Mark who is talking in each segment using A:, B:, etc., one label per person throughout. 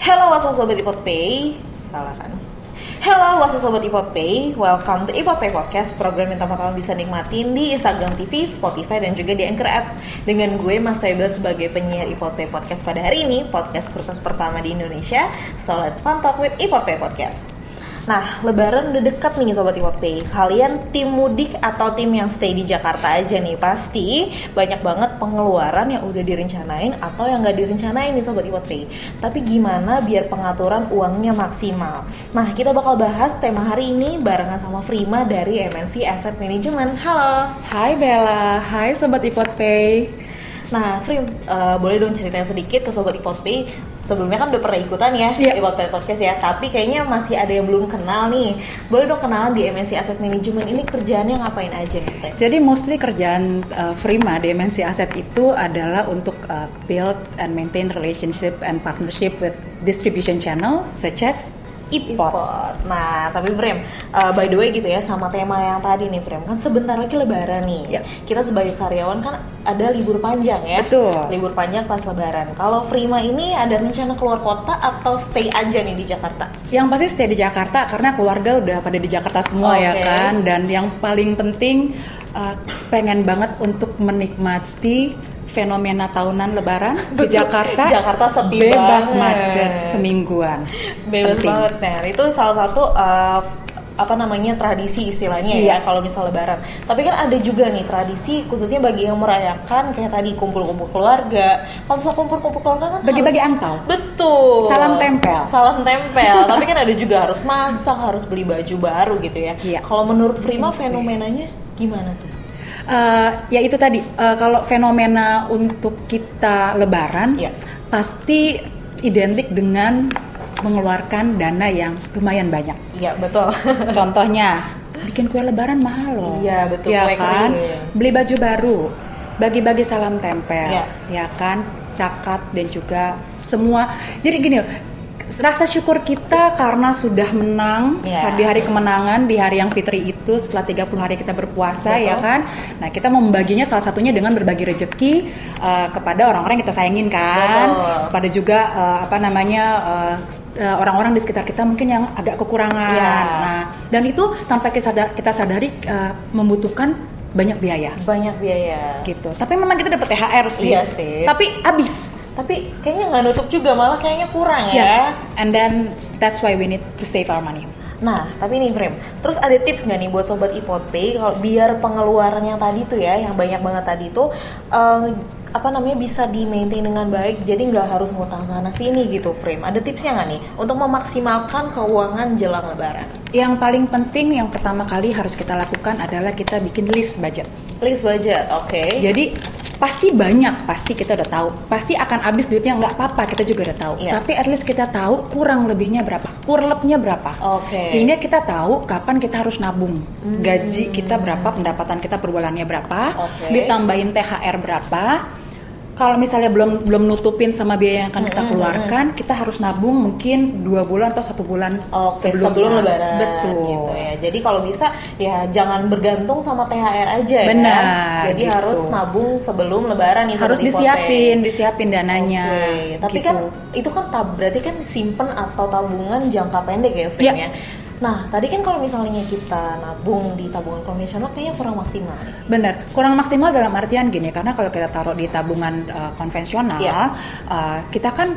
A: Halo wasu sobat Ipot Pay. Salah kan? Halo wasu sobat Ipot Pay. Welcome to Ipot Pay Podcast, program yang tanpa kamu bisa nikmatin di Instagram TV, Spotify dan juga di Anchor Apps. Dengan gue Mas Saibel sebagai penyiar Ipot Pay Podcast pada hari ini, podcast kertas pertama di Indonesia. So let's fun talk with Ipot Pay Podcast. Nah, lebaran udah dekat nih Sobat Iwat Pay. Kalian tim mudik atau tim yang stay di Jakarta aja nih? Pasti banyak banget pengeluaran yang udah direncanain atau yang nggak direncanain nih Sobat Iwat Pay. Tapi gimana biar pengaturan uangnya maksimal? Nah, kita bakal bahas tema hari ini barengan sama Frima dari MNC Asset Management. Halo!
B: Hai Bella, hai Sobat Ipot Pay.
A: Nah, Frim, eh, boleh dong ceritain sedikit ke Sobat Ipot Pay. Sebelumnya kan udah pernah ikutan ya
B: Iya.
A: Ipot Pay Podcast ya, tapi kayaknya masih ada yang belum kenal nih. Boleh dong kenalan di MNC Asset Management ini kerjaannya ngapain aja ya, Frim?
B: Jadi mostly kerjaan uh, Frima Dimensi Aset itu adalah untuk uh, build and maintain relationship and partnership with distribution channel such as Ipot.
A: Ipot. Nah, tapi Frim, eh, by the way gitu ya sama tema yang tadi nih Frim, kan sebentar lagi lebaran nih.
B: Iya.
A: Kita sebagai karyawan kan ada libur panjang ya.
B: Betul.
A: Libur panjang pas lebaran. Kalau Frima ini ada rencana keluar kota atau stay aja nih di Jakarta?
B: Yang pasti stay di Jakarta karena keluarga udah pada di Jakarta semua ya
A: Oke.
B: kan. Dan yang paling penting uh, pengen banget untuk menikmati fenomena tahunan Lebaran di
A: Betul.
B: Jakarta.
A: Jakarta sepi
B: bebas
A: banget.
B: macet semingguan.
A: bebas
B: Penting.
A: banget nah itu salah satu uh, apa namanya tradisi istilahnya ya
B: Iya.
A: kalau misal lebaran tapi kan ada juga nih tradisi khususnya bagi yang merayakan kayak tadi kumpul-kumpul keluarga kalau misal kumpul-kumpul keluarga kan
B: Bagi-bagi
A: harus-
B: angpau.
A: betul
B: Salam tempel.
A: salam tempel tapi kan ada juga harus masak harus beli baju baru gitu ya
B: Iya.
A: kalau menurut Prima fenomenanya gimana tuh
B: Eh, ya itu tadi eh, kalau fenomena untuk kita Lebaran
A: Iya.
B: pasti identik dengan mengeluarkan dana yang lumayan banyak.
A: iya betul
B: Contohnya bikin kue Lebaran mahal loh.
A: Iya, betul,
B: Ya
A: kue
B: kan?
A: kering.
B: Beli baju baru, bagi-bagi salam tempel,
A: Iya.
B: ya kan? Zakat dan juga semua. Jadi gini loh, rasa syukur kita karena sudah menang
A: Iya.
B: di hari kemenangan di hari yang fitri itu setelah 30 hari kita berpuasa
A: Betul.
B: ya kan. Nah, kita mau membaginya salah satunya dengan berbagi rejeki eh, kepada orang-orang yang kita sayangin kan.
A: Betul.
B: Kepada juga eh, apa namanya eh, eh, orang-orang di sekitar kita mungkin yang agak kekurangan.
A: Iya.
B: Nah, dan itu tanpa kita sadar- kita sadari eh, membutuhkan banyak biaya
A: banyak biaya
B: gitu. Tapi memang kita dapat THR sih.
A: Iya sih.
B: Tapi habis.
A: tapi kayaknya nggak nutup juga malah kayaknya kurang ya
B: Yes. And then that's why we need to save our money.
A: Nah, tapi nih Frame, terus ada tips nggak nih buat sobat Ipot Pay kalau biar pengeluaran yang tadi tuh ya, yang banyak banget tadi tuh eh, apa namanya bisa di maintain dengan baik, jadi nggak harus ngutang sana sini gitu Frame. Ada tipsnya nggak nih untuk memaksimalkan keuangan jelang Lebaran?
B: Yang paling penting yang pertama kali harus kita lakukan adalah kita bikin list budget.
A: Please budget, oke.
B: Jadi pasti banyak, pasti kita udah tahu. Pasti akan habis duitnya nggak apa-apa, kita juga udah tahu.
A: Iya.
B: Tapi at least kita tahu kurang lebihnya berapa, kurlepnya berapa.
A: Oke. Hmm.
B: Sehingga kita tahu kapan kita harus nabung. Gaji kita berapa, pendapatan kita per bulannya berapa,
A: Oke.
B: ditambahin THR berapa. Kalau misalnya belum belum nutupin sama biaya yang akan
A: Hmm,
B: kita keluarkan, kita harus nabung mungkin dua bulan atau satu bulan
A: Oke, sebelum, Lebaran.
B: Betul.
A: Gitu ya. Jadi kalau bisa ya jangan bergantung sama THR aja ya.
B: Benar,
A: Jadi
B: gitu.
A: harus nabung sebelum Lebaran nih
B: Harus
A: Sobat Ipot Pay.
B: disiapin, disiapin dananya.
A: Oke, tapi
B: gitu.
A: kan itu kan tab, berarti kan simpen atau tabungan jangka pendek ya, Frim ya.
B: Iya.
A: Nah, tadi kan kalau misalnya kita nabung di tabungan konvensional kayaknya kurang maksimal. nih.
B: Benar, kurang maksimal dalam artian gini, karena kalau kita taruh di tabungan uh, konvensional,
A: Iya.
B: uh, kita kan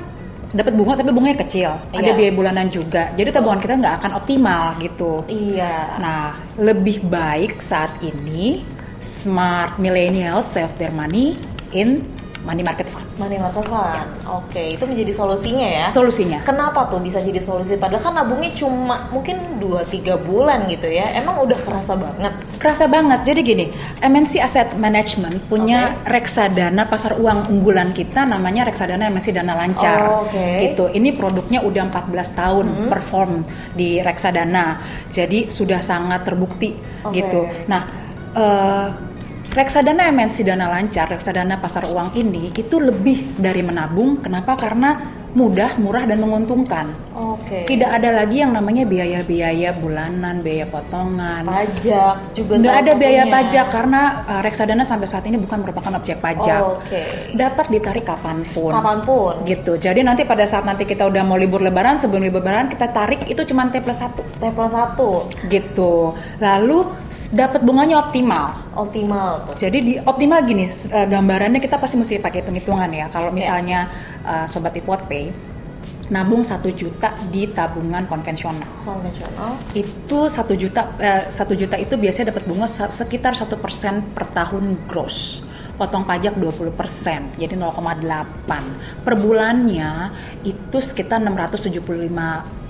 B: dapat bunga tapi bunganya kecil, ada
A: Iya.
B: biaya bulanan juga, jadi tabungan kita nggak akan optimal gitu.
A: Iya.
B: Nah, lebih baik saat ini smart millennials save their money in money market fund.
A: Money market fund. Oke, itu menjadi solusinya ya.
B: Solusinya.
A: Kenapa tuh bisa jadi solusi? Padahal kan nabungnya cuma mungkin 2-3 bulan gitu ya. Emang udah kerasa banget.
B: Kerasa banget. Jadi gini, MNC Asset Management punya reksadana pasar uang unggulan kita namanya reksadana MNC Dana Lancar.
A: Oh, oke. Hmm.
B: Gitu. Ini produknya udah 14 tahun perform di reksadana. Jadi sudah sangat terbukti
A: Oke.
B: gitu. Nah, eh, reksadana MNC Dana Lancar, reksadana pasar uang ini itu lebih dari menabung. Kenapa? Karena mudah, murah dan menguntungkan.
A: Oke.
B: Tidak ada lagi yang namanya biaya-biaya bulanan, biaya potongan.
A: Pajak juga.
B: Nggak
A: salah
B: ada biaya
A: satunya.
B: pajak karena uh, reksadana sampai saat ini bukan merupakan objek pajak.
A: Oh, Oke.
B: Dapat ditarik kapanpun.
A: Kapanpun.
B: Gitu. Jadi nanti pada saat nanti kita udah mau libur lebaran, sebelum libur lebaran kita tarik itu cuma T plus 1
A: T plus satu
B: gitu. Lalu s- dapat bunganya optimal.
A: optimal tuh.
B: Jadi di optimal gini, s- eh, gambarannya kita pasti mesti pakai penghitungan ya. Kalau
A: Iya.
B: misalnya eh, sobat Ipot Pay nabung 1 juta di tabungan konvensional
A: Konvensional.
B: itu satu juta eh, satu juta itu biasanya dapat bunga sa- sekitar satu persen per tahun gross potong pajak 20% jadi 0,8 per bulannya itu sekitar 675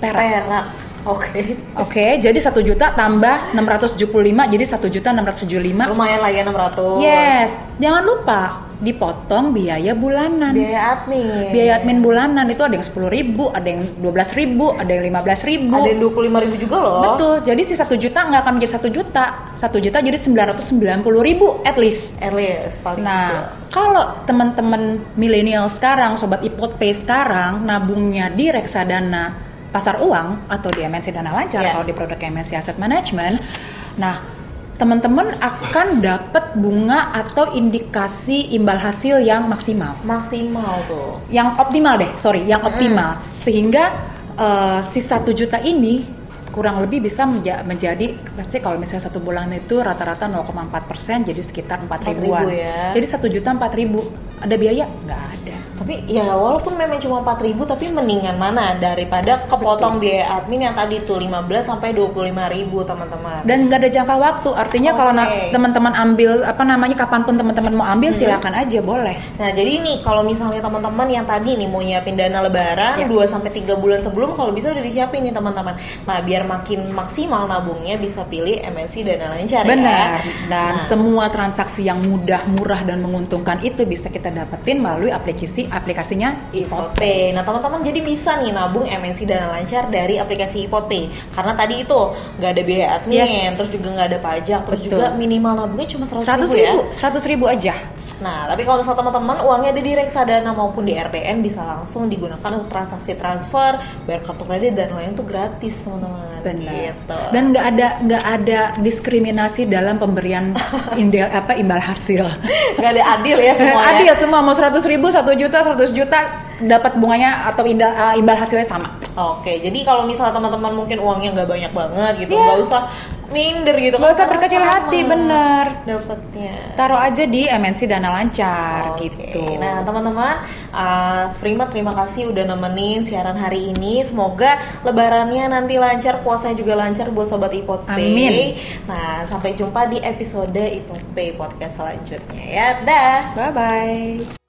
B: perak
A: Perak. Oke.
B: oke jadi satu juta tambah 675 jadi satu juta 675
A: Lumayan lah ya 600.
B: yes jangan lupa dipotong biaya bulanan
A: Biaya admin.
B: biaya admin bulanan itu ada yang 10.000 ada yang 12.000 ada yang 15.000
A: Ada yang 25 ribu juga loh.
B: Betul, jadi si satu juta nggak akan menjadi satu juta, satu juta jadi 990 ribu at least.
A: At least paling kecil.
B: Nah, kalau teman-teman milenial sekarang, sobat ipot pay sekarang, nabungnya di reksadana pasar uang atau di MNC Dana Lancar
A: Iya.
B: atau di produk MNC Asset Management, nah teman-teman akan dapat bunga atau indikasi imbal hasil yang maksimal
A: maksimal tuh.
B: yang optimal deh, sorry, yang optimal sehingga eh, si satu juta ini kurang lebih bisa menja- menjadi, let's say kalau misalnya satu bulan itu rata-rata 0,4 persen, jadi sekitar 4 ribuan.
A: 4.000 ya.
B: Jadi satu juta empat ribu, ada biaya? Nggak ada.
A: Tapi ya walaupun memang cuma 4000 tapi mendingan mana daripada kepotong biaya admin yang tadi tuh 15 sampai 25.000 teman-teman.
B: Dan nggak ada jangka waktu, artinya kalau na-
A: Oke.
B: teman-teman ambil apa namanya, kapanpun teman-teman mau ambil silakan aja boleh.
A: Nah, jadi nih kalau misalnya teman-teman yang tadi nih mau nyiapin dana lebaran
B: Ya.
A: 2 sampai 3 bulan sebelum kalau bisa udah disiapin nih teman-teman. Nah, biar makin maksimal nabungnya bisa pilih MNC dana lancar
B: Benar.
A: ya.
B: Dan
A: Nah.
B: semua transaksi yang mudah, murah dan menguntungkan itu bisa kita dapetin melalui aplikasi aplikasinya
A: Ipotpay. Nah teman-teman jadi bisa nih nabung MNC dana lancar dari aplikasi Ipotpay karena tadi itu nggak ada biaya admin,
B: Yes.
A: terus juga nggak ada pajak, terus
B: Betul.
A: juga minimal nabungnya cuma seratus
B: seratus
A: ribu, ya.
B: ribu, seratus ribu aja.
A: Nah tapi kalau misalnya teman-teman uangnya ada di reksadana maupun di RTN bisa langsung digunakan untuk transaksi transfer, bayar kartu kredit dan lain itu gratis teman-teman. Gitu.
B: Dan nggak ada nggak ada diskriminasi dalam pemberian indel apa imbal hasil.
A: nggak ada adil ya semuanya.
B: Adil semua mau seratus ribu, satu juta, 100 juta dapat bunganya atau indal- eh, imbal hasilnya sama.
A: Oke, jadi kalau misalnya teman-teman mungkin uangnya nggak banyak banget gitu,
B: Iya.
A: nggak usah minder gitu.
B: Nggak usah
A: Karena
B: berkecil
A: sama
B: hati, bener.
A: Dapatnya.
B: Taruh aja di MNC Dana Lancar
A: Oke.
B: gitu.
A: Nah teman-teman, uh, Frima terima kasih udah nemenin siaran hari ini. Semoga Lebarannya nanti lancar, puasanya juga lancar buat sobat Ipot Pay.
B: Amin.
A: Nah sampai jumpa di episode Ipot Pay podcast selanjutnya ya. Dah.
B: Bye bye.